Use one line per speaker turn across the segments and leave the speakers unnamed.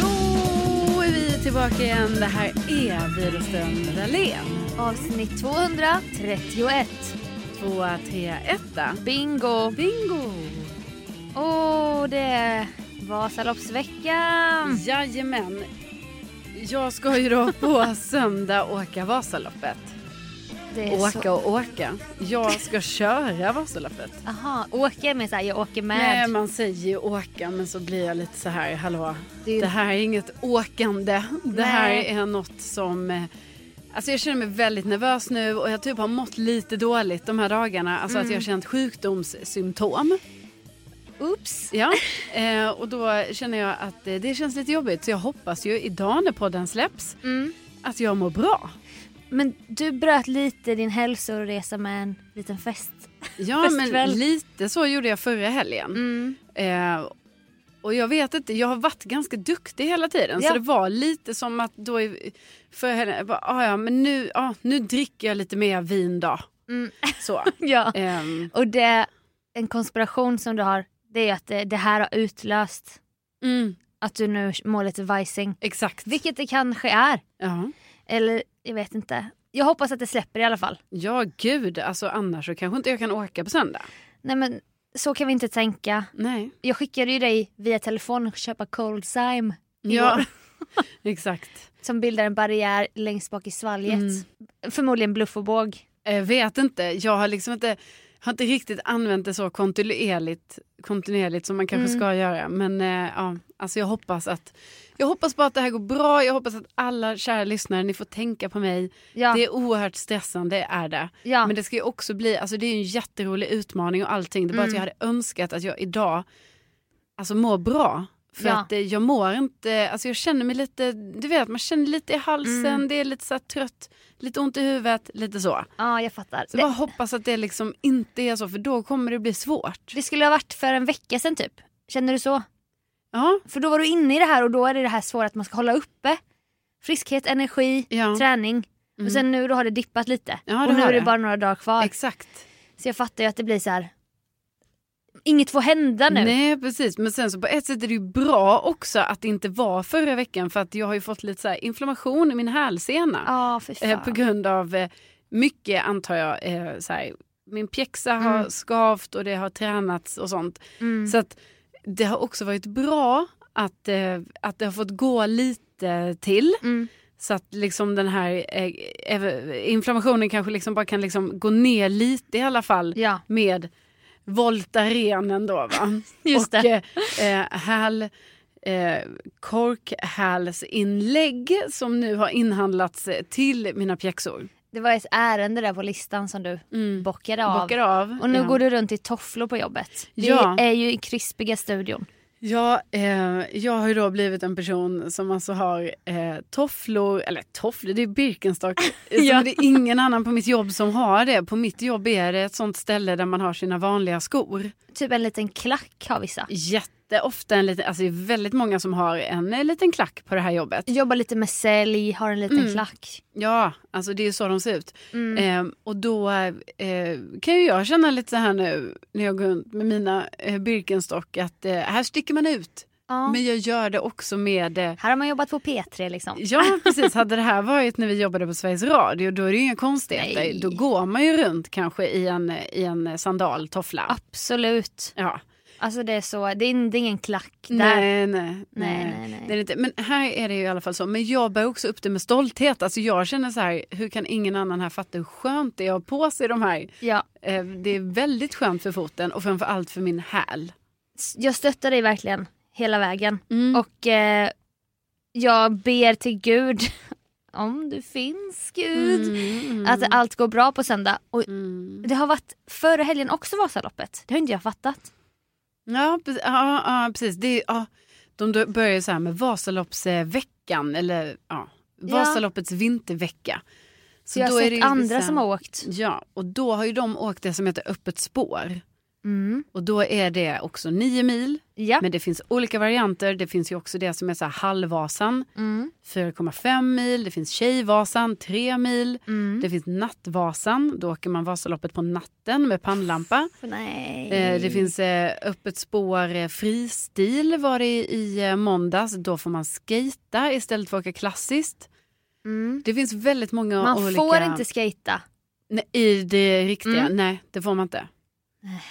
Då är vi tillbaka igen. Det här är Widerström Dahlén.
Avsnitt 231.
2, 3, 1.
Bingo!
Bingo!
Och det är Vasaloppsveckan.
Jajamän. Jag ska ju då på söndag åka Vasaloppet.
Det är
Åka och åka. Jag ska köra Vasaloppet.
Aha, åka med såhär, jag åker med.
Nej, man säger ju åka men så blir jag lite så här, hallå.
Det är ju-
Det här är inget åkande. Det här
Nej.
är något som... eh, Alltså jag känner mig väldigt nervös nu och jag typ har mått lite dåligt de här dagarna. Alltså
Mm.
att jag har känt sjukdomssymptom.
Oops.
Ja, eh, och då känner jag att eh, det känns lite jobbigt. Så jag hoppas ju idag när podden släpps
Mm.
att jag mår bra.
Men du bröt lite din hälsoresa med en liten fest.
Ja,
Fast
men
väl.
lite så gjorde jag förra helgen.
Mm.
Eh, och jag vet inte, jag har varit ganska duktig hela tiden. Så
Ja.
det var lite som att då i- för henne, jag bara, ah, ja men nu, ah, nu dricker jag lite mer vin då.
Mm.
Så.
Ja.
ehm,
Och det, en konspiration som du har, det är att det, det här har utlöst
mm,
att du nu mår lite vajsing.
exakt.
Vilket det kanske är.
Ja.
Eller jag vet inte. Jag hoppas att det släpper i alla fall.
ja, gud, alltså annars så kanske inte jag kan åka på söndag.
Nej men så kan vi inte tänka.
Nej.
Jag skickade ju dig via telefon att köpa Cold Zyme
Ja, exakt.
som bildar en barriär längst bak i svalget.
Mm.
Förmodligen bluff och båg.
Jag Eh, vet inte, jag har liksom inte, har inte riktigt använt det så kontinuerligt, kontinuerligt som man kanske
Mm.
ska göra. Men eh, ja, alltså jag hoppas att, jag hoppas bara att det här går bra. Jag hoppas att alla kära lyssnare, ni får tänka på mig.
Ja,
Det är oerhört stressande, är det.
ja.
Men det ska ju också bli, alltså det är ju en jätterolig utmaning och allting. Det är bara
Mm.
att jag hade önskat att jag idag, alltså mår bra. För
Ja.
att eh, jag mår inte, alltså jag känner mig lite, du vet man känner lite i halsen,
Mm.
det är lite så här trött, lite ont i huvudet, lite så.
ja jag fattar.
Så bara
Det,
hoppas att det liksom inte är så för då kommer det bli svårt.
det skulle ha varit för en vecka sedan typ. Känner du så?
Ja,
För då var du inne i det här och då är det det här svåra att man ska hålla uppe friskhet, energi,
Ja.
träning.
Mm.
Och sen nu då har det dippat lite.
Ja, det
och nu
har
är det
det.
bara några dagar kvar.
exakt.
så jag fattar ju att det blir så här. Inget får hända nu.
Nej precis men sen så på ett sätt är det ju bra också att det inte var förra veckan för att jag har ju fått lite så här inflammation i min hälsena.
Ja, fy fan.
Eh, på grund av eh, mycket antar jag. Eh, så här, min pjäxa har
Mm.
skavt och det har tränats och sånt.
Mm.
Så att det har också varit bra att, eh, att det har fått gå lite till.
Mm.
Så att liksom den här eh, ev- inflammationen kanske liksom bara kan liksom gå ner lite i alla fall
Ja,
med Voltarenen då va.
Just
och
det.
eh, eh, häl, eh, korkhälsinlägg som nu har inhandlats eh, till mina pjäxor.
det var ett ärende där på listan som du
Mm.
bockade av.
Bockar av.
Och nu
ja.
går du runt i tofflor på jobbet. Vi
Ja.
är ju i krispiga studion.
Ja, eh, jag har ju då blivit en person som alltså har eh, tofflor, eller tofflor, det är Birkenstock. ja.
Ja.
Det är ingen annan på mitt jobb som har det. På mitt jobb är det ett sånt ställe där man har sina vanliga skor.
Typ en liten klack har vissa.
Jätteofta en liten, alltså det är väldigt många som har en eh, liten klack på det här jobbet.
Jobbar lite med sälj, har en liten
Mm.
klack.
Ja, alltså det är ju så de ser ut.
Mm.
Eh, och då eh, kan ju jag känna lite så här nu när jag går runt med mina eh, Birkenstock att eh, här sticker man ut.
ja.
Men jag gör det också med eh,
Här har man jobbat på P3 liksom.
Ja precis, hade det här varit när vi jobbade på Sveriges Radio då är det ju inga konstigheter.
Nej.
Då går man ju runt kanske i en, i en sandaltoffla.
Absolut.
Ja.
Alltså det är så, det är, det är ingen klack där.
Nej, nej,
Nej,
nej.
nej, nej.
Det är det inte. Men här är det ju i alla fall så. Men jag bär också upp det med stolthet. Alltså jag känner så här, hur kan ingen annan här fatta hur skönt det är att ha på sig de här?
Ja.
Eh, Det är väldigt skönt för foten och framför allt för min häl.
S- Jag stöttar dig verkligen hela vägen.
Mm.
Och eh, jag ber till Gud, om du finns Gud, att allt går bra på söndag. Och
Mm.
det har varit förra helgen också Vasaloppet. Det har inte jag fattat.
Ja, precis. Ja, ja, precis. Det är, ja. De då- börjar ju så här med Vasaloppsveckan, eller ja, Vasaloppets vintervecka.
Så jag har sett
ju
andra
liksom-
som har åkt.
Ja, och då har ju de åkt det som heter öppet spår.
Mm.
Och då är det också nio mil,
Ja.
men det finns olika varianter. Det finns ju också det som är så här halvvasan,
Mm.
4,5 mil, det finns tjejvasan, 3 mil.
Mm.
Det finns nattvasan, då åker man Vasaloppet på natten med pannlampa.
Nej.
Eh, Det finns eh, öppet spår eh, fristil var det i, i eh, måndags. Då får man skejta istället för att åka klassiskt.
Mm.
Det finns väldigt många
Man
olika...
får inte skejta.
Nej, I det riktiga?
Mm. Eh.
Nej, det får man inte.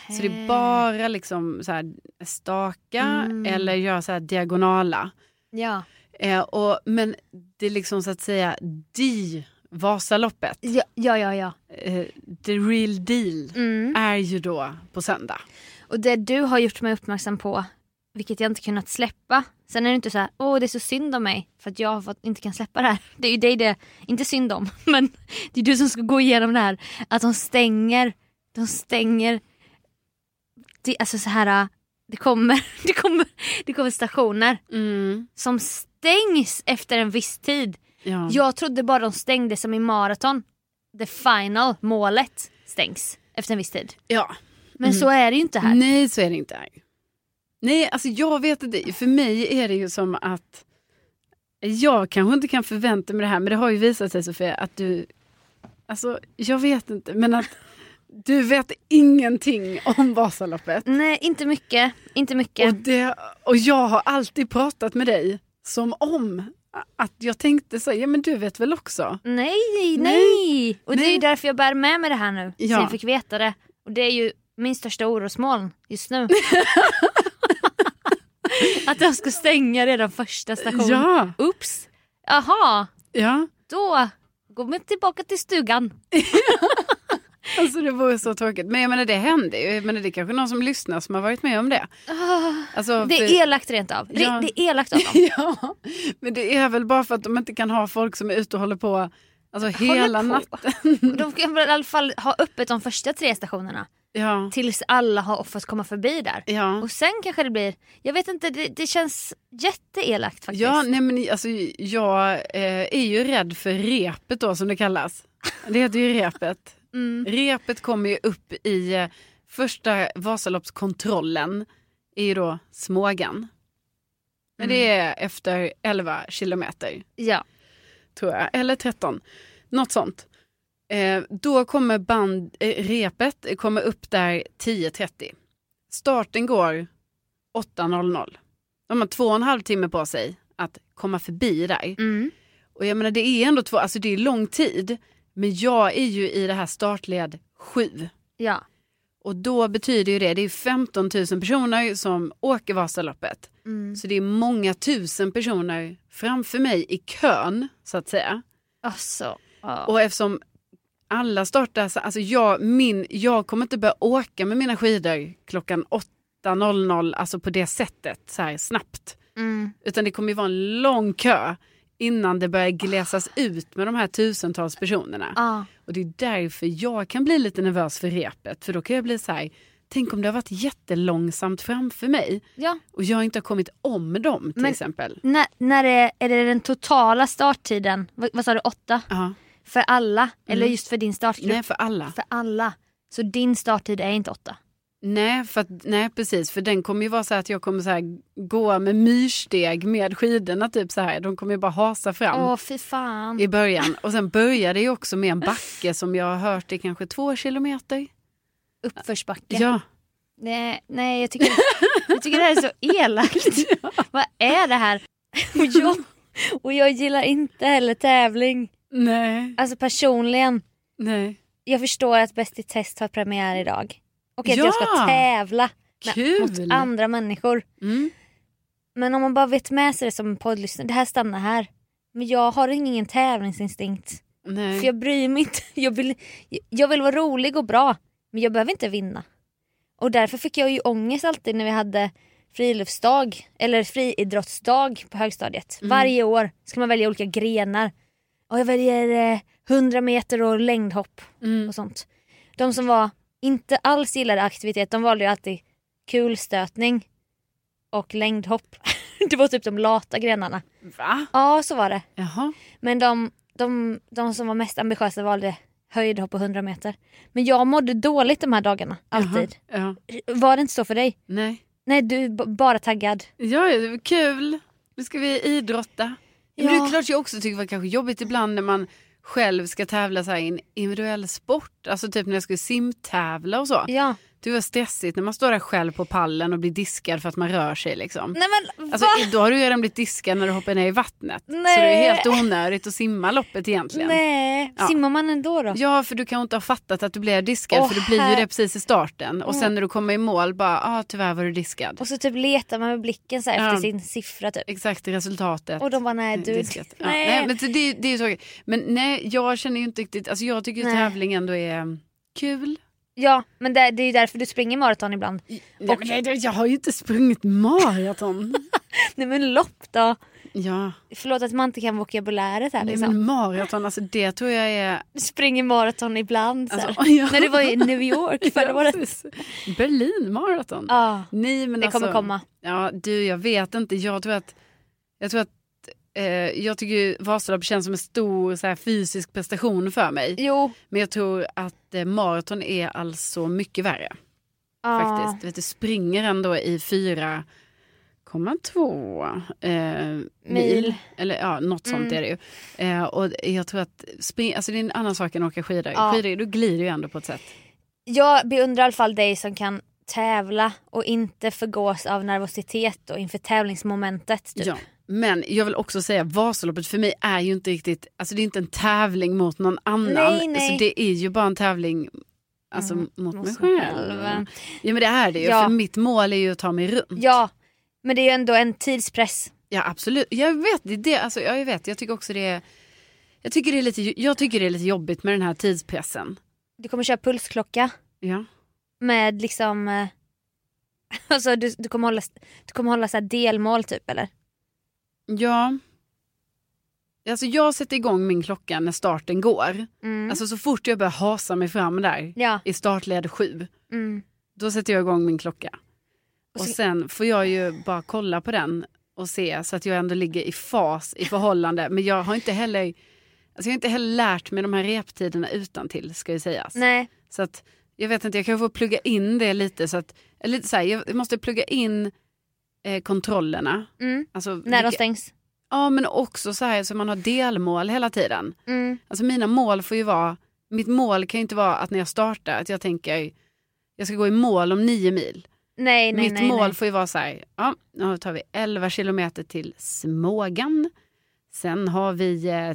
Så det är bara liksom så här staka
Mm.
eller göra så här diagonala.
Ja.
Eh, och, men det är liksom så att säga de Vasaloppet,
Ja, ja, ja. ja.
eh, the real deal,
Mm.
är ju då på söndag.
Och det du har gjort mig uppmärksam på, vilket jag inte kunnat släppa. Sen är det inte så här, åh det är så synd om mig för att jag har fått, inte kan släppa det här. Det är ju dig det, inte synd om, men det är du som ska gå igenom det här. Att de stänger, de stänger, det, alltså så här, äh, det kommer, det kommer, det kommer stationer
Mm.
som stängs efter en viss tid.
Ja.
Jag trodde bara de stängde som i maraton, the final, målet stängs efter en viss tid.
ja.
Men så är det ju inte här.
Mm. Nej, så är det inte. Nej, alltså jag vet inte. För mig är det ju som att jag kanske inte kan förvänta mig det här, men det har ju visat sig Sofia att du, alltså jag vet inte, men att du vet ingenting om Vasaloppet.
Nej, inte mycket. Inte mycket.
Och, det, och jag har alltid pratat med dig som om att jag tänkte så, här, ja men du vet väl också?
nej, nej,
Nej.
Och det är
Nej.
ju därför jag bär med mig det här nu.
Ja.
Så jag fick veta det. Och det är ju min största orosmoln just nu. att de ska stänga redan första stationen.
Ja,
Oops. Jaha,
ja.
då går vi tillbaka till stugan.
Alltså det vore så tråkigt. Men jag menar det händer ju. Jag menar, det är kanske någon som lyssnar som har varit med om det. Alltså,
Ah, Det
för-
är elakt rent av. Det,
Ja.
det är elakt av dem.
Ja, men det är väl bara för att de inte kan ha folk som är ute och håller på alltså, hela
på.
natten.
De kan väl i alla fall ha öppet de första tre stationerna.
Ja,
Tills alla har fått komma förbi där.
ja.
Och sen kanske det blir, jag vet inte, det, det känns jätteelakt faktiskt.
ja nej, men, alltså, jag eh, är ju rädd för repet då som det kallas. Det heter ju repet.
Mm.
Repet kommer ju upp i eh, första Vasaloppskontrollen, är ju då Smågan. Men det
Mm.
är efter 11 kilometer.
Ja.
tror jag, eller 13. Något sånt. Eh, då kommer band, eh, repet kommer upp där 10.30. Starten går 8.00. De har två och en halv timme på sig att komma förbi där.
Mm.
Och jag menar det är ändå två, alltså det är lång tid. Men jag är ju i det här startled 7.
Ja.
Och då betyder ju det, det är 15 000 personer som åker Vasaloppet. Så det är många tusen personer framför mig i kön så att säga.
Alltså. ja.
Och eftersom alla startar, så- alltså jag, min, jag kommer inte börja åka med mina skidor klockan 8.00, alltså på det sättet, så här snabbt.
Mm.
Utan det kommer ju vara en lång kö innan det börjar glesas ut med de här tusentals personerna.
Ja.
Och det är därför jag kan bli lite nervös för repet, för då kan jag bli så här, Tänk om det har varit jättelångsamt framför mig
Ja.
och jag inte har kommit om dem till
Men-
exempel.
När, när är, är det den totala starttiden? Vad, vad sa du, åtta?
Ja.
För alla? Eller just för din startgrupp?
Mm. Nej, för alla.
För alla. Så din starttid är inte åtta?
Nej, för att, nej, precis. För den kommer ju vara så här att jag kommer så här gå med myrsteg med skidorna. Typ så här. De kommer ju bara hasa fram
Åh fy fan.
i början. Och sen börjar det ju också med en backe som jag har hört är kanske två kilometer.
Uppförsbacke.
Ja,
Nej, nej jag, tycker, jag tycker det här är så elakt. Vad är det här? Och jag, och jag gillar inte heller tävling.
nej,
Alltså personligen,
nej.
jag förstår att Bäst i test har premiär idag. Och att
Ja!
jag ska tävla med,
Kul!
mot andra människor.
Mm.
Men om man bara vet med sig det som en poddlyssnare, det här stannar här. Men jag har ingen tävlingsinstinkt. För
Nej.
jag bryr mig inte. Jag vill, jag vill vara rolig och bra men jag behöver inte vinna. Och därför fick jag ju ångest alltid när vi hade friluftsdag eller friidrottsdag på högstadiet. Varje år ska man välja olika grenar. Och jag väljer eh, 100 meter och längdhopp och sånt. De som var inte alls gillade aktivitet de valde ju alltid kulstötning och längdhopp. det var typ de lata grenarna.
Va?
Ja så var det.
Jaha.
Men de, de, de som var mest ambitiösa valde höjdhopp på 100 meter. Men jag mådde dåligt de här dagarna, alltid.
Jaha. Ja,
Var det inte så för dig?
nej.
Nej, du b- bara taggad.
Ja, det var kul. Nu ska vi idrotta. Men det
Ja.
är klart jag också tycker det var kanske jobbigt ibland när man själv ska tävla så här i en individuell sport. Alltså typ när jag skulle simtävla och så.
Ja.
Det var stressigt när man står där själv på pallen och blir diskad för att man rör sig liksom.
Nej men
Alltså,
va?
då har du ju redan blivit diskad när du hoppar ner i vattnet. Så det
Nej.
är helt onödigt att simma loppet egentligen.
Nej,
Ja.
simmar man ändå då?
Ja, för du kan ju inte ha fattat att du blev diskad
Åh,
för du blir ju
här-
det precis i starten. Och sen när du kommer i mål bara, ah, tyvärr var du diskad.
Och så typ letar man med blicken så här
Ja.
efter sin siffra typ.
Exakt resultatet.
Och de bara nej
Eh,
du.
diskat. Ja,
Nej.
nej, men så det, det är ju tråkigt. Men nej, jag känner ju inte riktigt, alltså jag tycker ju
Nej.
tävling ändå är um, kul.
Ja men det, det är ju därför du springer maraton ibland.
Nej,
Och-
men jag, jag har ju inte sprungit maraton.
Nej men lopp då.
ja,
Förlåt att man inte kan vokabuläret här
nej,
liksom.
men maraton, alltså det tror jag är...
Du springer maraton ibland så här.
Alltså, ja.
När det var i New York förra året.
precis. Berlin maraton.
Ja,
Nej, men
det
alltså,
kommer komma.
Ja, du, jag vet inte. Jag tror att... Jag, tror att, eh, jag tycker ju Vasalopp känns som en stor så här, fysisk prestation för mig.
Jo.
Men jag tror att eh, maraton är alltså mycket värre.
Ja.
Ah. faktiskt. Du, vet, du springer ändå i 4,2 eh, mil.
Mil. Mm.
Eller ja, något sånt är det ju. Eh, och jag tror att spring, alltså det är en annan sak än att åka skidor.
Ja.
Skidor, du glider ju ändå på ett sätt.
Jag beundrar i alla fall dig som kan tävla och inte förgås av nervositet och inför tävlingsmomentet. Typ.
Ja. Men jag vill också säga, Vasaloppet för mig är ju inte riktigt, alltså det är inte en tävling mot någon annan.
Nej, nej. Mm,
Så det är ju bara en tävling alltså, mot, mig
mot
själv.
sig själv.
Ja men det är det ju,
Ja.
för mitt mål är ju att ta mig runt.
ja, men det är ju ändå en tidspress.
Ja absolut, jag vet, det, är det, alltså, jag, vet jag tycker också det är, jag tycker det är lite, jag tycker det är lite jobbigt med den här tidspressen.
Du kommer köra pulsklocka
Ja.
med liksom... eh, Alltså du, du kommer hålla, du kommer hålla så här delmål typ eller?
ja. Alltså jag sätter igång min klocka när starten går.
Mm.
Alltså så fort jag börjar hasa mig fram där
ja.
i startled sju,
Mm.
då sätter jag igång min klocka.
Och
Och,
så-
sen får jag ju bara kolla på den och se så att jag ändå ligger i fas i förhållande. Men jag har inte heller, alltså jag har inte heller lärt mig de här reptiderna utan till ska ju sägas.
Nej.
Så att jag vet inte, jag kanske får plugga in det lite så att, eller lite så här, jag måste plugga in eh, kontrollerna.
Mm.
Alltså,
När de
vilka-
stängs.
Ja men också så här så man har delmål hela tiden.
Mm.
Alltså mina mål får ju vara, mitt mål kan ju inte vara att när jag startar att jag tänker jag ska gå i mål om nio mil.
Nej, nej,
Mitt
nej,
mål
nej.
får ju vara så här, ja, nu tar vi 11 kilometer till Smågan. Sen har vi eh,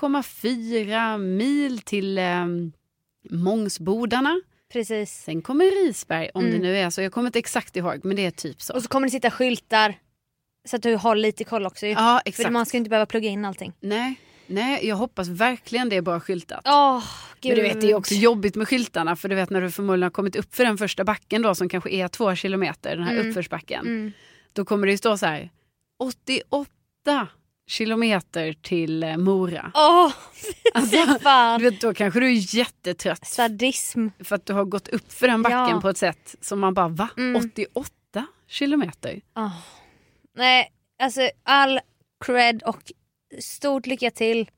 2,4 mil till eh, Mångsbodarna.
Precis.
Sen kommer Risberg, om
Mm.
det nu är så. Jag kommer inte exakt ihåg, men det är typ så.
Och så kommer det sitta skyltar. Så att du har lite koll också ju.
ja,
För
exakt.
man ska inte behöva plugga in allting.
Nej, nej, jag hoppas verkligen det är bra skyltat.
Åh, gud.
Men du vet, det är också jobbigt med skyltarna, för du vet när du förmodligen har kommit upp för den första backen då, som kanske är två kilometer, den här
Mm.
uppförsbacken.
Mm.
Då kommer det ju stå så här, 88 kilometer till eh, Mora.
Åh, fy fan.
Alltså, Du vet, då kanske du är jättetrött
Sadism.
för att du har gått upp för den backen
Ja.
på ett sätt som man bara va?
Mm.
88 kilometer?
Åh. Nej, alltså all cred och stort lycka till.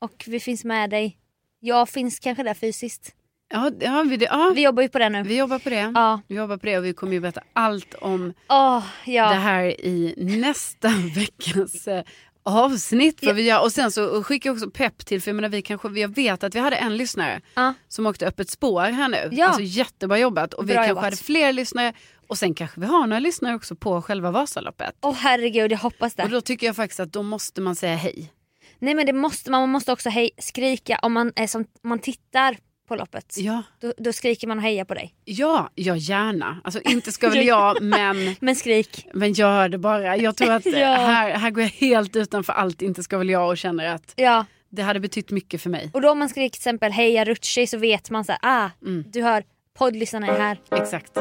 Och vi finns med dig. Jag finns kanske där fysiskt.
Ja, ja, vi, det- ja.
Vi jobbar ju på det nu.
vi jobbar på det.
Ja.
Vi jobbar på det och vi kommer ju berätta allt om
Åh, ja.
det här i nästa veckas eh, avsnitt. Vad vi gör. Och sen så skickar jag också pepp till, för jag, menar, vi kanske, jag vet att vi hade en lyssnare
Ja.
som åkte öppet spår här nu.
Ja.
Alltså jättebra jobbat. Och vi
Bra
kanske
jobbat.
hade fler lyssnare. Och sen kanske vi har några lyssnare också på själva Vasaloppet.
Åh herregud, jag hoppas det.
Och då tycker jag faktiskt att då måste man säga hej.
Nej men det måste man, man måste också hej, skrika om man, är som, om man tittar på loppet.
Ja,
Då, då skriker man och hejar på dig.
ja, ja gärna. Alltså inte ska väl jag, men,
Men skrik.
men gör det bara. Jag tror att eh,
Ja.
här, här går jag helt utanför allt inte ska väl jag och känner att
Ja.
det hade betytt mycket för mig.
Och då om man skriker till exempel heja Rutschi så vet man så här, ah, du hör poddlyssnarna är här.
Exakt.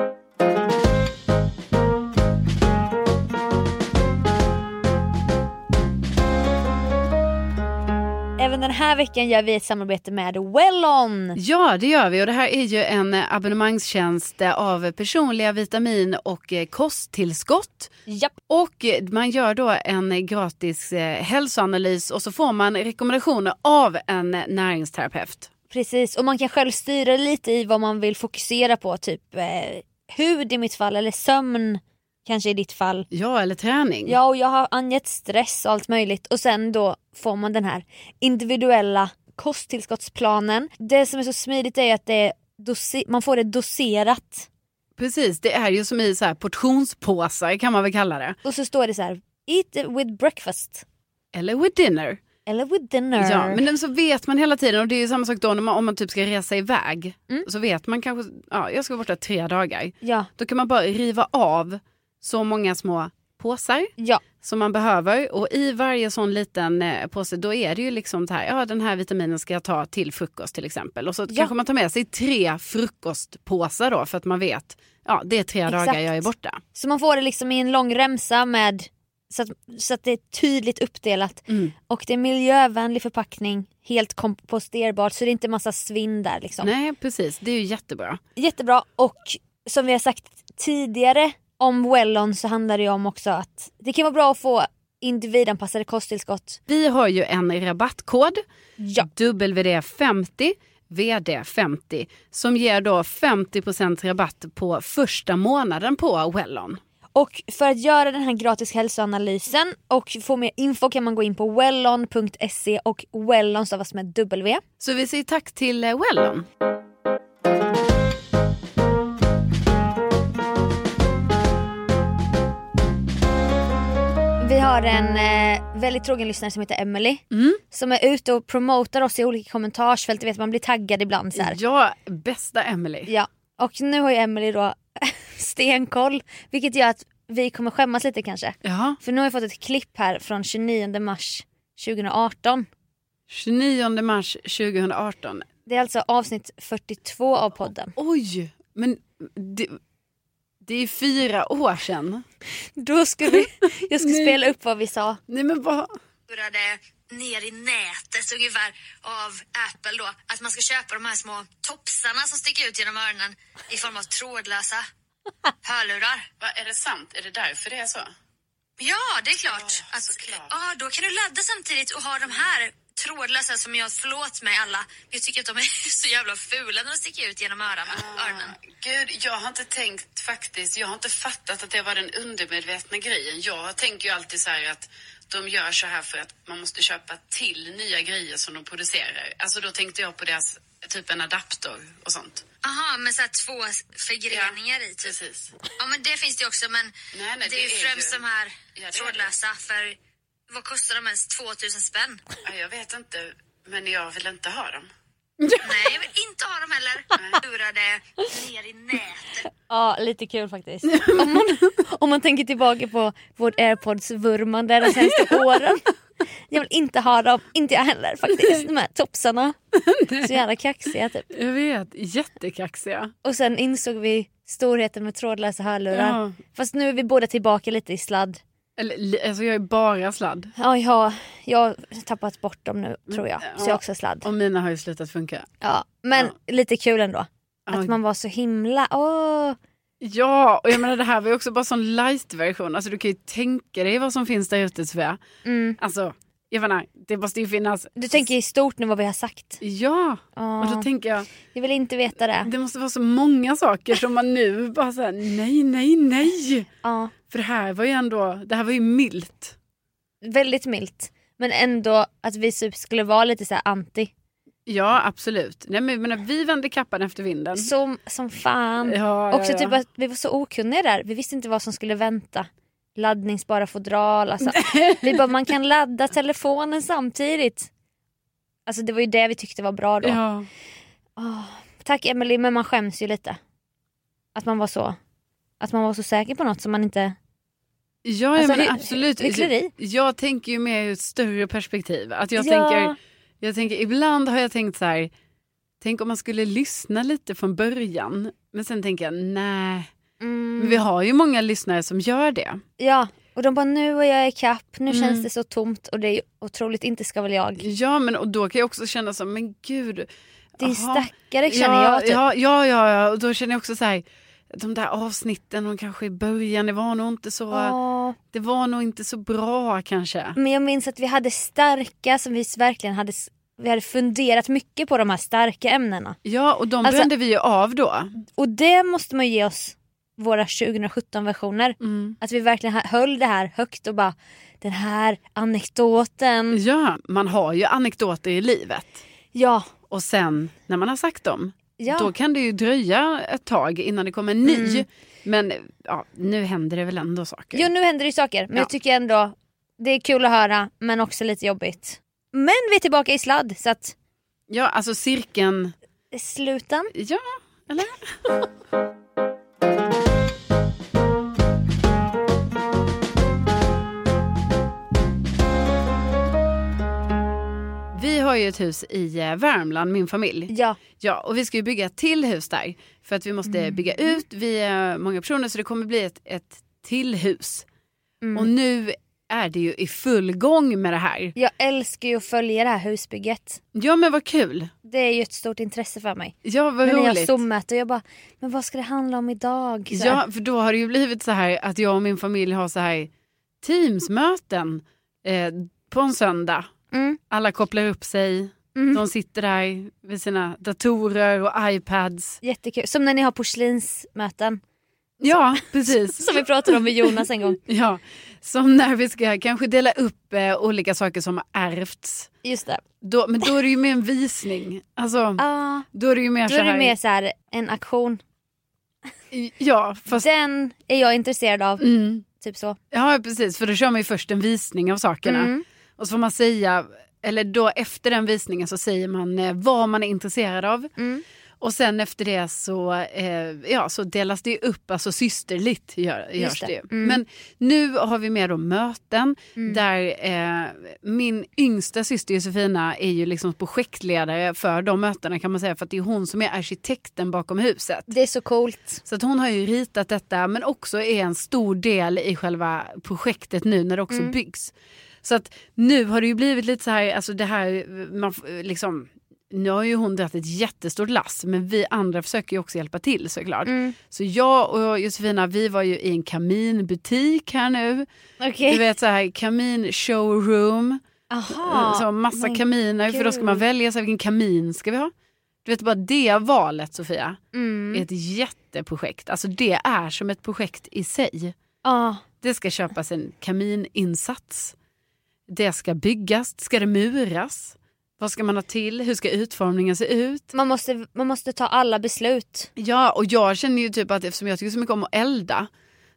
Även den här veckan gör vi ett samarbete med Wellon.
Ja, det gör vi. Och det här är ju en eh, abonnemangstjänst eh, av personliga vitamin och eh, kosttillskott.
Japp.
Och eh, man gör då en eh, gratis eh, hälsoanalys och så får man rekommendationer av en eh, näringsterapeut.
Precis, och man kan själv styra lite i vad man vill fokusera på. Typ eh, hud i mitt fall, eller sömn kanske i ditt fall.
Ja, eller träning.
Ja, och jag har angett stress och allt möjligt. Och sen då får man den här individuella kosttillskottsplanen. Det som är så smidigt är att det är dosi- man får det doserat.
Precis, det är ju som i så här portionspåsar kan man väl kalla det.
Och så står det så här, eat it with breakfast.
Eller with dinner.
Eller with dinner.
Ja, men den så vet man hela tiden och det är ju samma sak då när man, om man typ ska resa iväg. Så vet man kanske, ja jag ska vara borta tre dagar.
ja,
Då kan man bara riva av så många små påsar
ja,
som man behöver. Och i varje sån liten eh, påse då är det ju liksom så här, ja den här vitaminen ska jag ta till frukost till exempel. Och så
Ja.
kanske man tar med sig tre frukostpåsar då för att man vet, ja det är tre
Exakt.
dagar jag är borta.
Så man får det liksom i en lång remsa med så att, så att det är tydligt uppdelat.
Mm.
Och det är miljövänlig förpackning, helt komposterbart så det är inte massa svinn där liksom.
Nej precis, det är ju jättebra.
Jättebra och som vi har sagt tidigare om Wellon så handlar det ju om också att det kan vara bra att få individanpassade kosttillskott.
Vi har ju en rabattkod,
Ja.
WD50, VD50, som ger då 50% rabatt på första månaden på Wellon.
Och för att göra den här gratis hälsoanalysen och få mer info kan man gå in på wellon.se och wellon stavas med W.
Så vi säger tack till eh, Wellon.
Vi har en eh, väldigt trogen lyssnare som heter Emily som är ute och promotar oss i olika kommentarsfält. Du vet man blir taggad ibland så här.
Ja, bästa Emily.
Ja. Och nu har ju Emily då stenkoll vilket gör att vi kommer skämmas lite kanske.
Ja,
För nu har jag fått ett klipp här från 29 mars 2018.
29 mars 2018.
Det är alltså avsnitt 42 av podden.
Oj, men det, det är fyra år sedan.
Då ska vi, jag ska spela upp vad vi sa.
Nej men vad...
snurrade ner i nätet ungefär av Apple då. Att man ska köpa de här små topsarna som sticker ut genom öronen i form av trådlösa hörlurar.
Va, är det sant? Är det därför det är så?
Ja, det är klart. Ja, ja, då kan du ladda samtidigt och ha de här trådlösa som jag, förlåt mig alla, jag tycker att de är så jävla fula när de sticker ut genom öronen.
Ah.
öronen.
Gud, jag har inte tänkt faktiskt, jag har inte fattat att det var den undermedvetna grejen. Jag tänker ju alltid så här att de gör så här för att man måste köpa till nya grejer som de producerar. Alltså då tänkte jag på deras, typ en adapter och sånt.
Aha, med så här två förgreningar i typ.
Precis.
Ja, men det finns det ju också, men
Nej, nej,
det är ju
det är
främst
ju-
de här
Ja, det är det.
trådlösa. För vad kostar de ens? 2000 spänn?
Ja, jag vet inte, men jag vill inte ha dem.
Nej, jag vill inte ha dem heller. Lurade ner i nätet.
Ja, lite kul faktiskt. Om man, om man tänker tillbaka på vårt airpods-vurmande de senaste åren. Jag vill inte ha dem, inte jag heller faktiskt. De här topsarna. Så jävla kaxiga typ.
Jag vet, jättekaxiga.
Och sen insåg vi storheten med trådlösa hörlurar.
Ja.
Fast nu är vi båda tillbaka lite i sladd.
Eller, li- alltså jag är bara sladd.
Ja, jag, jag har tappat bort dem nu tror jag. Så jag är också sladd.
Och mina har ju slutat funka.
Mm. Ja, men lite kul ändå.
Ja.
Att man var så himla... Åh,
Ja, och jag menar det här var ju också bara sån light-version. Alltså du kan ju tänka dig vad som finns där ute Sofia.
Mm.
Alltså, jag menar, det måste ju finnas.
Du tänker i stort nu vad vi har sagt.
Ja,
Ja.
och då tänker jag,
Jag vill inte veta det.
det måste vara så många saker som man nu bara såhär, nej, nej, nej.
Ja,
För det här var ju ändå, det här var ju milt.
väldigt milt. Men ändå att vi typ skulle vara lite så här anti.
Ja, absolut. Nej men jag menar, vi vände kappan efter vinden.
Som, som fan.
Ja,
Också
ja,
typ
ja.
att vi var så okunniga där. Vi visste inte vad som skulle vänta. Laddningsbara fodral. Alltså. vi bara, man kan ladda telefonen samtidigt. Alltså det var ju det vi tyckte var bra då.
Ja.
Åh, tack Emily, men man skäms ju lite. Att man var så. Att man var så säker på något som man inte...
Ja, jag
Alltså,
menar
hy-
absolut.
hyckleri.
Jag tänker ju mer ur ett större perspektiv. Att jag,
Ja.
tänker, jag tänker, ibland har jag tänkt så här, tänk om man skulle lyssna lite från början. Men sen tänker jag, nej.
Mm.
Men vi har ju många lyssnare som gör det.
Ja, och de bara nu är jag i kapp,
Mm.
nu känns det så tomt och det är ju otroligt inte ska väl jag.
Ja, men och då kan jag också känna som, men gud. aha.
Din stackare känner
ja,
jag typ.
Ja, ja, ja, ja, och då känner jag också så här, de där avsnitten, de kanske i början, det var nog inte så,
Åh.
det var nog inte så bra kanske.
Men jag minns att vi hade starka som vi verkligen hade, vi hade funderat mycket på de här starka ämnena.
Ja, och de
Alltså-
brände vi ju av då.
Och det måste man ju ge oss våra 2017-versioner.
Mm.
Att vi verkligen ha- höll det här högt och bara den här anekdoten.
Ja, man har ju anekdoter i livet.
Ja,
Och sen när man har sagt dem,
ja.
då kan det ju dröja ett tag innan det kommer en ny. Men ja, nu händer det väl ändå saker.
Jo nu händer det ju saker men
Ja.
jag tycker ändå det är kul att höra men också lite jobbigt. Men vi är tillbaka i sladd så att
Ja, alltså cirkeln,
sluten.
ja, eller? Vi har ju ett hus i eh, Värmland, min familj.
Ja.
Ja, och vi ska ju bygga ett till hus där. För att vi måste
Mm.
bygga ut, vi är många personer så det kommer bli ett, ett till hus.
Mm.
Och nu är det ju i full gång med det här.
Jag älskar ju att följa det här husbygget.
Ja men vad kul.
Det är ju ett stort intresse för mig.
Ja vad
Men när jag
roligt.
zoom-möter jag bara, men vad ska det handla om idag? Så
Ja
här.
för då har det ju blivit så här att jag och min familj har så här teamsmöten eh, på en söndag.
Mm.
Alla kopplar upp sig, de sitter där vid sina datorer och iPads.
Jättekul. Som när ni har porslinsmöten.
Ja precis.
Som vi pratade om med Jonas en gång.
Ja, som när vi ska kanske dela upp eh, olika saker som har ärvts.
Just det.
Då, men då är det ju mer en visning. Alltså,
Ah,
då är det ju mer
då
så
är det
här.
mer så här, en aktion.
Ja, fast,
Den är jag intresserad av.
mm,
Typ så.
ja, precis. För då kör man ju först en visning av sakerna.
Mm.
Och så får man säga, eller då efter den visningen så säger man eh, vad man är intresserad av.
Mm.
Och sen efter det så, eh, ja, så delas det ju upp, alltså systerligt gör, görs
det.
det. ju.
Mm.
Men nu har vi med då möten där eh, min yngsta syster Josefina är ju liksom projektledare för de mötena kan man säga för att det är hon som är arkitekten bakom huset.
Det är så coolt.
Så att hon har ju ritat detta men också är en stor del i själva projektet nu när det också byggs. Så att nu har det ju blivit lite så här, alltså det här, man, f- liksom, nu har ju hon dragit ett jättestort lass men vi andra försöker ju också hjälpa till såklart. Så jag och Josefina vi var ju i en kaminbutik här nu.
Okej.
Du vet så här kamin showroom,
Aha.
så Alltså, massa
men
kaminer för då ska man
gud.
välja så här, vilken kamin ska vi ha. Du vet bara det valet Sofia
Mm.
är ett jätteprojekt. Alltså det är som ett projekt i sig.
Ja.
Det ska köpas en kamininsats. Det ska byggas, ska det muras? Vad ska man ha till? Hur ska utformningen se ut?
Man, måste, man måste ta alla beslut.
Ja, och jag känner ju typ att eftersom jag tycker så mycket om att elda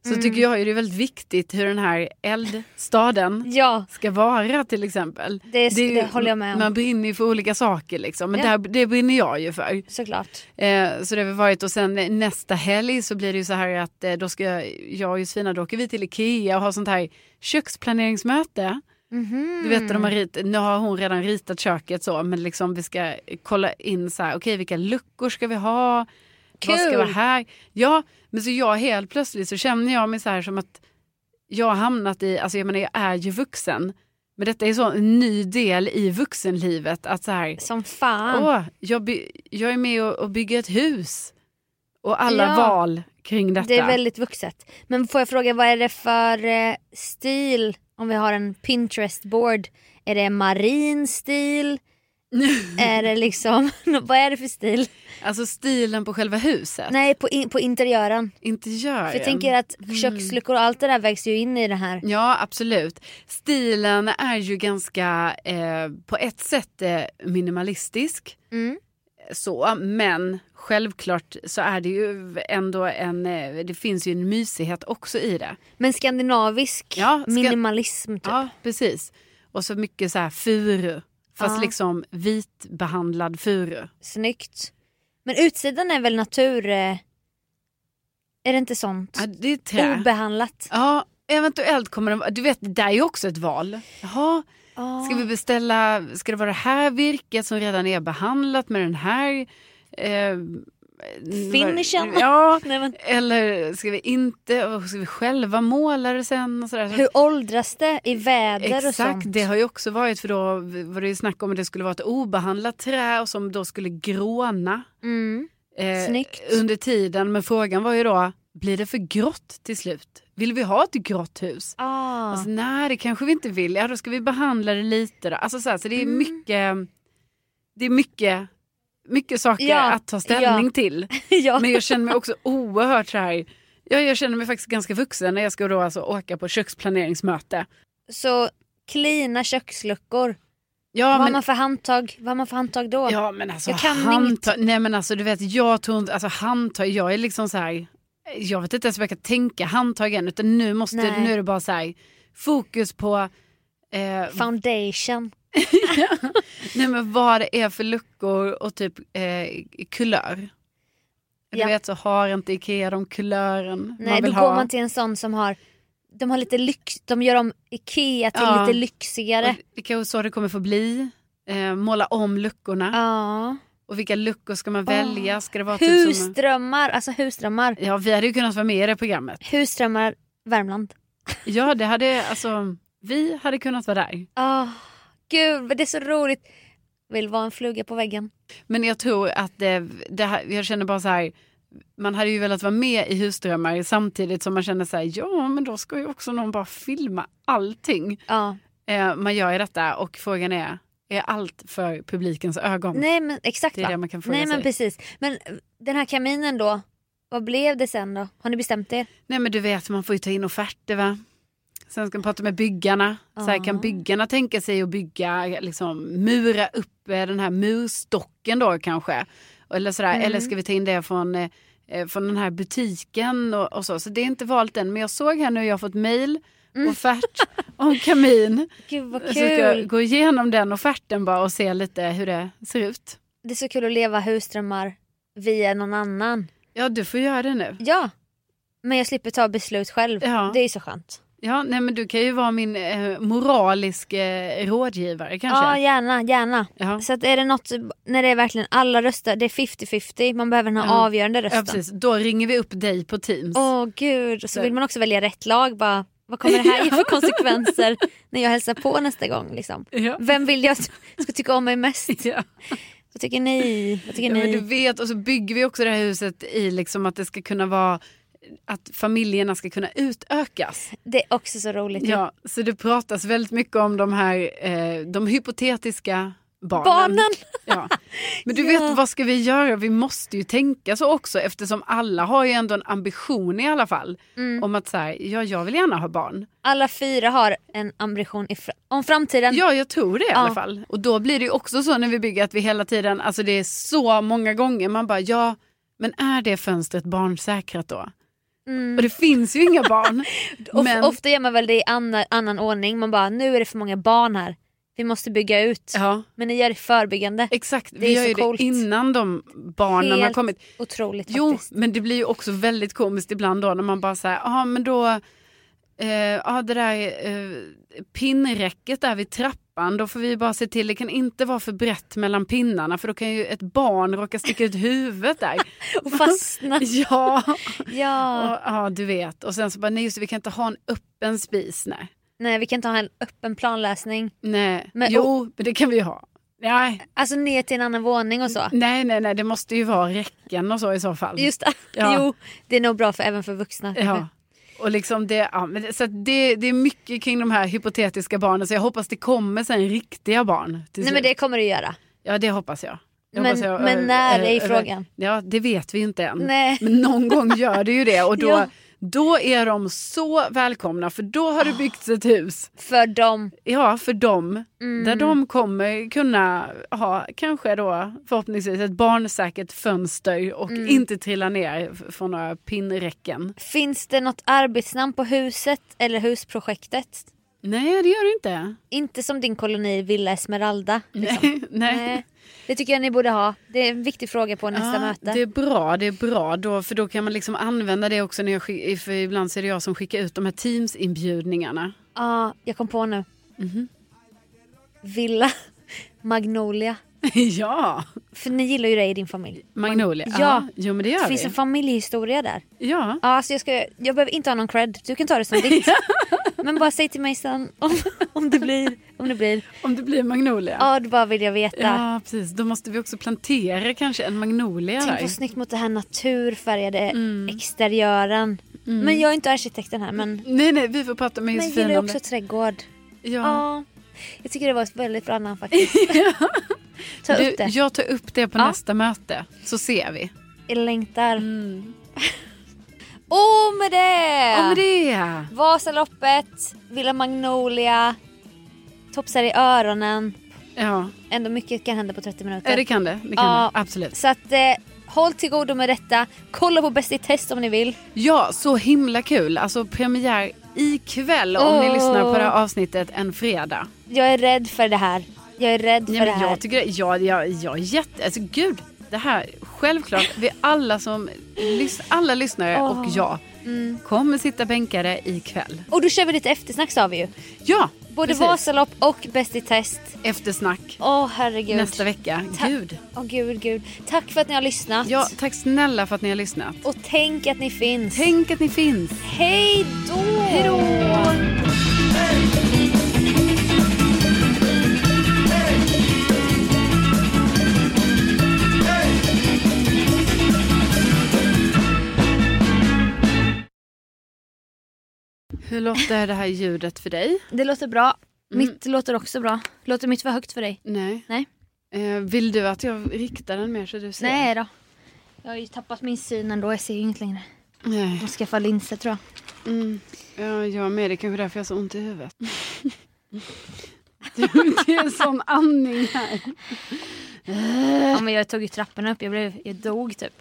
så
Mm.
tycker jag ju det är väldigt viktigt hur den här eldstaden
Ja,
ska vara till exempel.
Det-
är ju-
det håller jag med om.
Man brinner ju för olika saker liksom, men
Ja.
det, här, det brinner jag ju för.
såklart.
Eh, så det har vi varit och sen eh, nästa helg så blir det ju så här att eh, då ska jag- jag och Josefina, då åker vi till Ikea och har sånt här köksplaneringsmöte. Du vet de har rit, nu har hon redan ritat köket så men liksom vi ska kolla in så här, okej vilka luckor ska vi ha? Vad ska
Kul!
vara här? Ja, men så jag helt plötsligt så känner jag mig så här som att jag har hamnat i, alltså jag menar jag är ju vuxen, men detta är så en ny del i vuxenlivet att så här,
Som fan.
åh, jag, by, jag är med och, och bygger ett hus och alla
Ja.
val kring detta.
Det är väldigt vuxet. Men får jag fråga, vad är det för eh, stil om vi har en Pinterest-board? Är det marin stil? är det liksom, vad är det för stil?
Alltså stilen på själva huset,
Nej, på, in, på interiören.
interiören.
För jag tänker att
Mm.
köksluckor och allt det där vägs ju in i det här.
Ja, absolut. Stilen är ju ganska eh, på ett sätt eh, minimalistisk.
Mm.
Så, men självklart så är det ju ändå en, eh, det finns ju en mysighet också i det.
Men skandinavisk
Ja, ska-
minimalism typ.
Ja, precis. Och så mycket så här furu, fast
Ja.
liksom vitbehandlad furu.
Snyggt. Men utsidan är väl natur... Eh, är det inte sånt?
Ja, det är trä.
Obehandlat.
ja, eventuellt kommer de, du vet, det där är ju också ett val. Jaha, Ska vi beställa, ska det vara det här virket som redan är behandlat med den här eh,
Finishen.
Ja,
Nej, men,
eller ska vi inte, och ska vi själva måla det sen? Och sådär. Så-
hur åldras det i väder och sånt?
Exakt, det har ju också varit för då var det ju snack om att det skulle vara ett obehandlat trä och som då skulle gråna
Mm.
eh,
Snyggt.
under tiden. Men frågan var ju då, blir det för grått till slut? Vill vi ha ett grått hus?
Ah.
Alltså, nej, det kanske vi inte vill. Ja, då ska vi behandla det lite. Då. Alltså, så här, så det är
Mm.
mycket, det är mycket, mycket saker
Ja,
att ta ställning till.
ja.
Men jag känner mig också oerhört så här, ja, jag känner mig faktiskt ganska vuxen när jag ska då alltså åka på köksplaneringsmöte.
Så klina köksluckor.
Ja,
vad har
men,
man för handtag? Vad har man för handtag då?
ja, men alltså,
Jag kan
handtag, nej men alltså du vet, jag tror inte, alltså handtag, jag är liksom så här, jag vet inte ens vad jag kan tänka handtag än, utan nu måste,
Nej.
nu är det bara så här, fokus på eh,
Foundation.
Nej men vad det är för luckor och typ eh, kulör. Du
Ja.
vet så har inte Ikea de kulören
Nej,
man
då
vill
går
ha.
man till en sån som har de har lite lyx, de gör om Ikea till
Ja.
lite lyxigare.
Och det kanske så det kommer få bli. Eh, måla om luckorna.
Ja. Ah,
Och vilka luckor ska man välja? Ska det vara typ som...
Husdrömmar, alltså husdrömmar.
Ja vi hade ju kunnat vara med i det programmet.
Husdrömmar Värmland.
Ja det hade alltså, vi hade kunnat vara där.
Ah, gud vad det är så roligt. Vill vara en fluga på väggen.
Men jag tror att det, det här, jag känner bara så här, man hade ju velat vara med i Husdrömmar samtidigt som man känner så här, ja men då ska ju också någon bara filma allting.
Ja.
Eh, man gör ju detta och frågan är, är allt för publikens ögon?
Nej men exakt
Det är
va?
det man kan fråga
Nej men
sig.
precis. Men eh, den här kaminen då, vad blev det sen då? Har ni bestämt er?
Nej men du vet, man får ju ta in offerter va? Sen ska man prata med byggarna. Så här,
Ah.
kan byggarna tänka sig att bygga, liksom, mura upp eh, den här murstocken då kanske? Eller, sådär.
Mm.
Eller ska vi ta in det från, eh, eh, från den här butiken och, och så. Så det är inte valt än. Men jag såg här nu, jag har fått mejl, offert om kamin.
Gud vad
Så
Mm. kul.
ska jag gå igenom den offerten bara och se lite hur det ser ut.
Det är så kul att leva husdrömmar via någon annan.
Ja, du får göra det nu.
Ja. Men jag slipper ta beslut själv.
Ja.
Det är ju så skönt.
Ja, nej men du kan ju vara min eh, moralisk eh, rådgivare kanske.
Ja gärna, gärna.
Jaha.
Så att är det något när det är verkligen alla röster, det är 50-50, man behöver den här
Ja.
avgörande
ja,
rösten.
precis. Då ringer vi upp dig på Teams.
Åh gud, och så
Så-
vill man också välja rätt lag. Bara, vad kommer det här ge för konsekvenser när jag hälsar på nästa gång? Liksom?
Ja.
Vem vill jag ska tycka om mig mest?
Ja.
Vad tycker ni? Vad tycker
Ja, men du
ni?
vet, och så bygger vi också det här huset i liksom att det ska kunna vara att familjerna ska kunna utökas.
Det är också så roligt.
Ja, så det pratas väldigt mycket om de här eh, de hypotetiska barnen.
Barnen!
Ja. Men du vet, vad ska vi göra? Vi måste ju tänka så också eftersom alla har ju ändå en ambition i alla fall.
Mm.
Om att så här, ja, jag vill gärna ha barn.
Alla fyra har en ambition i fr- om framtiden.
Ja, jag tror det i alla
Ja.
fall. Och då blir det ju också så när vi bygger att vi hela tiden, alltså det är så många gånger man bara ja, men är det fönstret barnsäkrat då? Och det finns ju inga barn.
Of-
men,
Ofta gör man väl det i annan, annan ordning. Man bara, nu är det för många barn här. Vi måste bygga ut.
ja,
Men ni gör det förebyggande.
exakt.
är
Vi gör
så
ju det
coolt.
innan de barnen har
Helt
kommit.
Otroligt
Jo,
faktiskt.
men det blir ju också väldigt komiskt ibland då när man bara säger, ja men då eh, ah, det där eh, pinnräcket där vid trappan, då får vi bara se till, det kan inte vara för brett mellan pinnarna för då kan ju ett barn råka sticka ut huvudet där.
Och fastna.
ja,
Ja.
och, ja, du vet. Och sen så bara, nej just det, vi kan inte ha en öppen spis. Nej,
Nej vi kan inte ha en öppen planlösning.
nej.
Men-
jo, men det kan vi ju ha. Nej,
Alltså ner till en annan våning och så.
nej, nej, nej, det måste ju vara räcken och så i så fall.
Just det.
Ja.
Jo, det är nog bra för, även för vuxna.
Ja. Och liksom det, ja, men det, så att det, det är mycket kring de här hypotetiska barnen så jag hoppas det kommer sen riktiga barn. till
Nej men
slut.
det kommer det göra.
Ja det hoppas jag. jag
Men-
hoppas jag
men
eh,
när
eh,
är ju
eh,
frågan.
Ja det vet vi ju inte än.
Nej.
Men någon gång gör det ju det och då,
Ja.
då är de så välkomna för då har det byggts ett hus.
För dem.
Ja för dem.
Mm.
Där de kommer kunna ha kanske då förhoppningsvis ett barnsäkert fönster och
Mm.
inte trilla ner f- från några pinnräcken.
Finns det något arbetsnamn på huset eller husprojektet?
Nej det gör det inte.
Inte som din koloni Villa Esmeralda. Liksom.
Nej. Nej.
Nej. Det tycker jag ni borde ha. Det är en viktig fråga på nästa
Ja,
möte.
Det är bra, det är bra då, för då kan man liksom använda det också när jag skick- för ibland så är det jag som skickar ut de här Teams-inbjudningarna.
Ja, jag kom på nu.
Mhm.
Villa Magnolia.
ja,
För ni gillar ju det i din familj.
Magnolia.
Ja.
Ja, jo men det
Det
gör
finns en
vi.
familjehistoria där.
Ja.
Ja, alltså jag, ska, jag behöver inte ha någon cred. Du kan ta det som ditt. Men bara säg till mig sen om, om det blir. Om det blir.
Om det blir Magnolia.
Ja, då bara vill jag veta.
Ja, precis. Då måste vi också plantera kanske en Magnolia
Tänk
där.
vad snyggt mot den här naturfärgade
Mm.
exteriören. Men jag är inte arkitekten här men,
Nej, nej, vi får prata med
men jag gillar
Josefin
ju
om
också
det.
trädgård.
Ja.
Ja. Jag tycker det var ett väldigt bra namn faktiskt. Ta
Du,
upp det.
jag tar upp det på
Ja.
nästa möte, så ser vi.
Jag längtar. Och med det!
Ja, men Mm. det!
Vasaloppet, Villa Magnolia, topsar i öronen.
Ja,
Ändå mycket kan hända på 30 minuter.
Ja, det kan det. Det kan
Ja.
det. Absolut.
Så att eh, håll till godo med detta. Kolla på Bäst i test om ni vill.
Ja, så himla kul. Alltså premiär ikväll om ni
Åh.
lyssnar på det här avsnittet en fredag.
Jag är rädd för det här. Jag är rädd för
Nej,
det
men
här.
jag tycker ja, jag, jag är jätte... Alltså gud, det här självklart. Vi alla som lys, alla lyssnare och jag
Mm.
kommer sitta bänkare ikväll.
Och då kör vi lite eftersnack sa vi ju.
Ja,
Både
precis.
Vasalopp och Bäst i test.
Eftersnack
Åh herregud.
nästa vecka.
Ta-
Gud.
Åh gud, gud. Tack för att ni har lyssnat.
Ja, tack snälla för att ni har lyssnat.
Och tänk att ni finns.
Tänk att ni finns.
Hej då! Hej då!
Hur låter det här ljudet för dig?
Det låter bra. Mitt låter också bra. Låter mitt för högt för dig?
Nej.
Mm. Nej.
Eh, vill du att jag riktar den mer så du ser?
Nej då. Jag har ju tappat min syn ändå. Jag ser ju inget längre.
Nej.
Jag ska skaffa linser tror jag.
Mm. Ja, jag med. Det är kanske därför jag har så ont i huvudet. Du, det är en sån andning här.
Ja, men jag tog ju trapporna upp. Jag, blev, jag dog typ.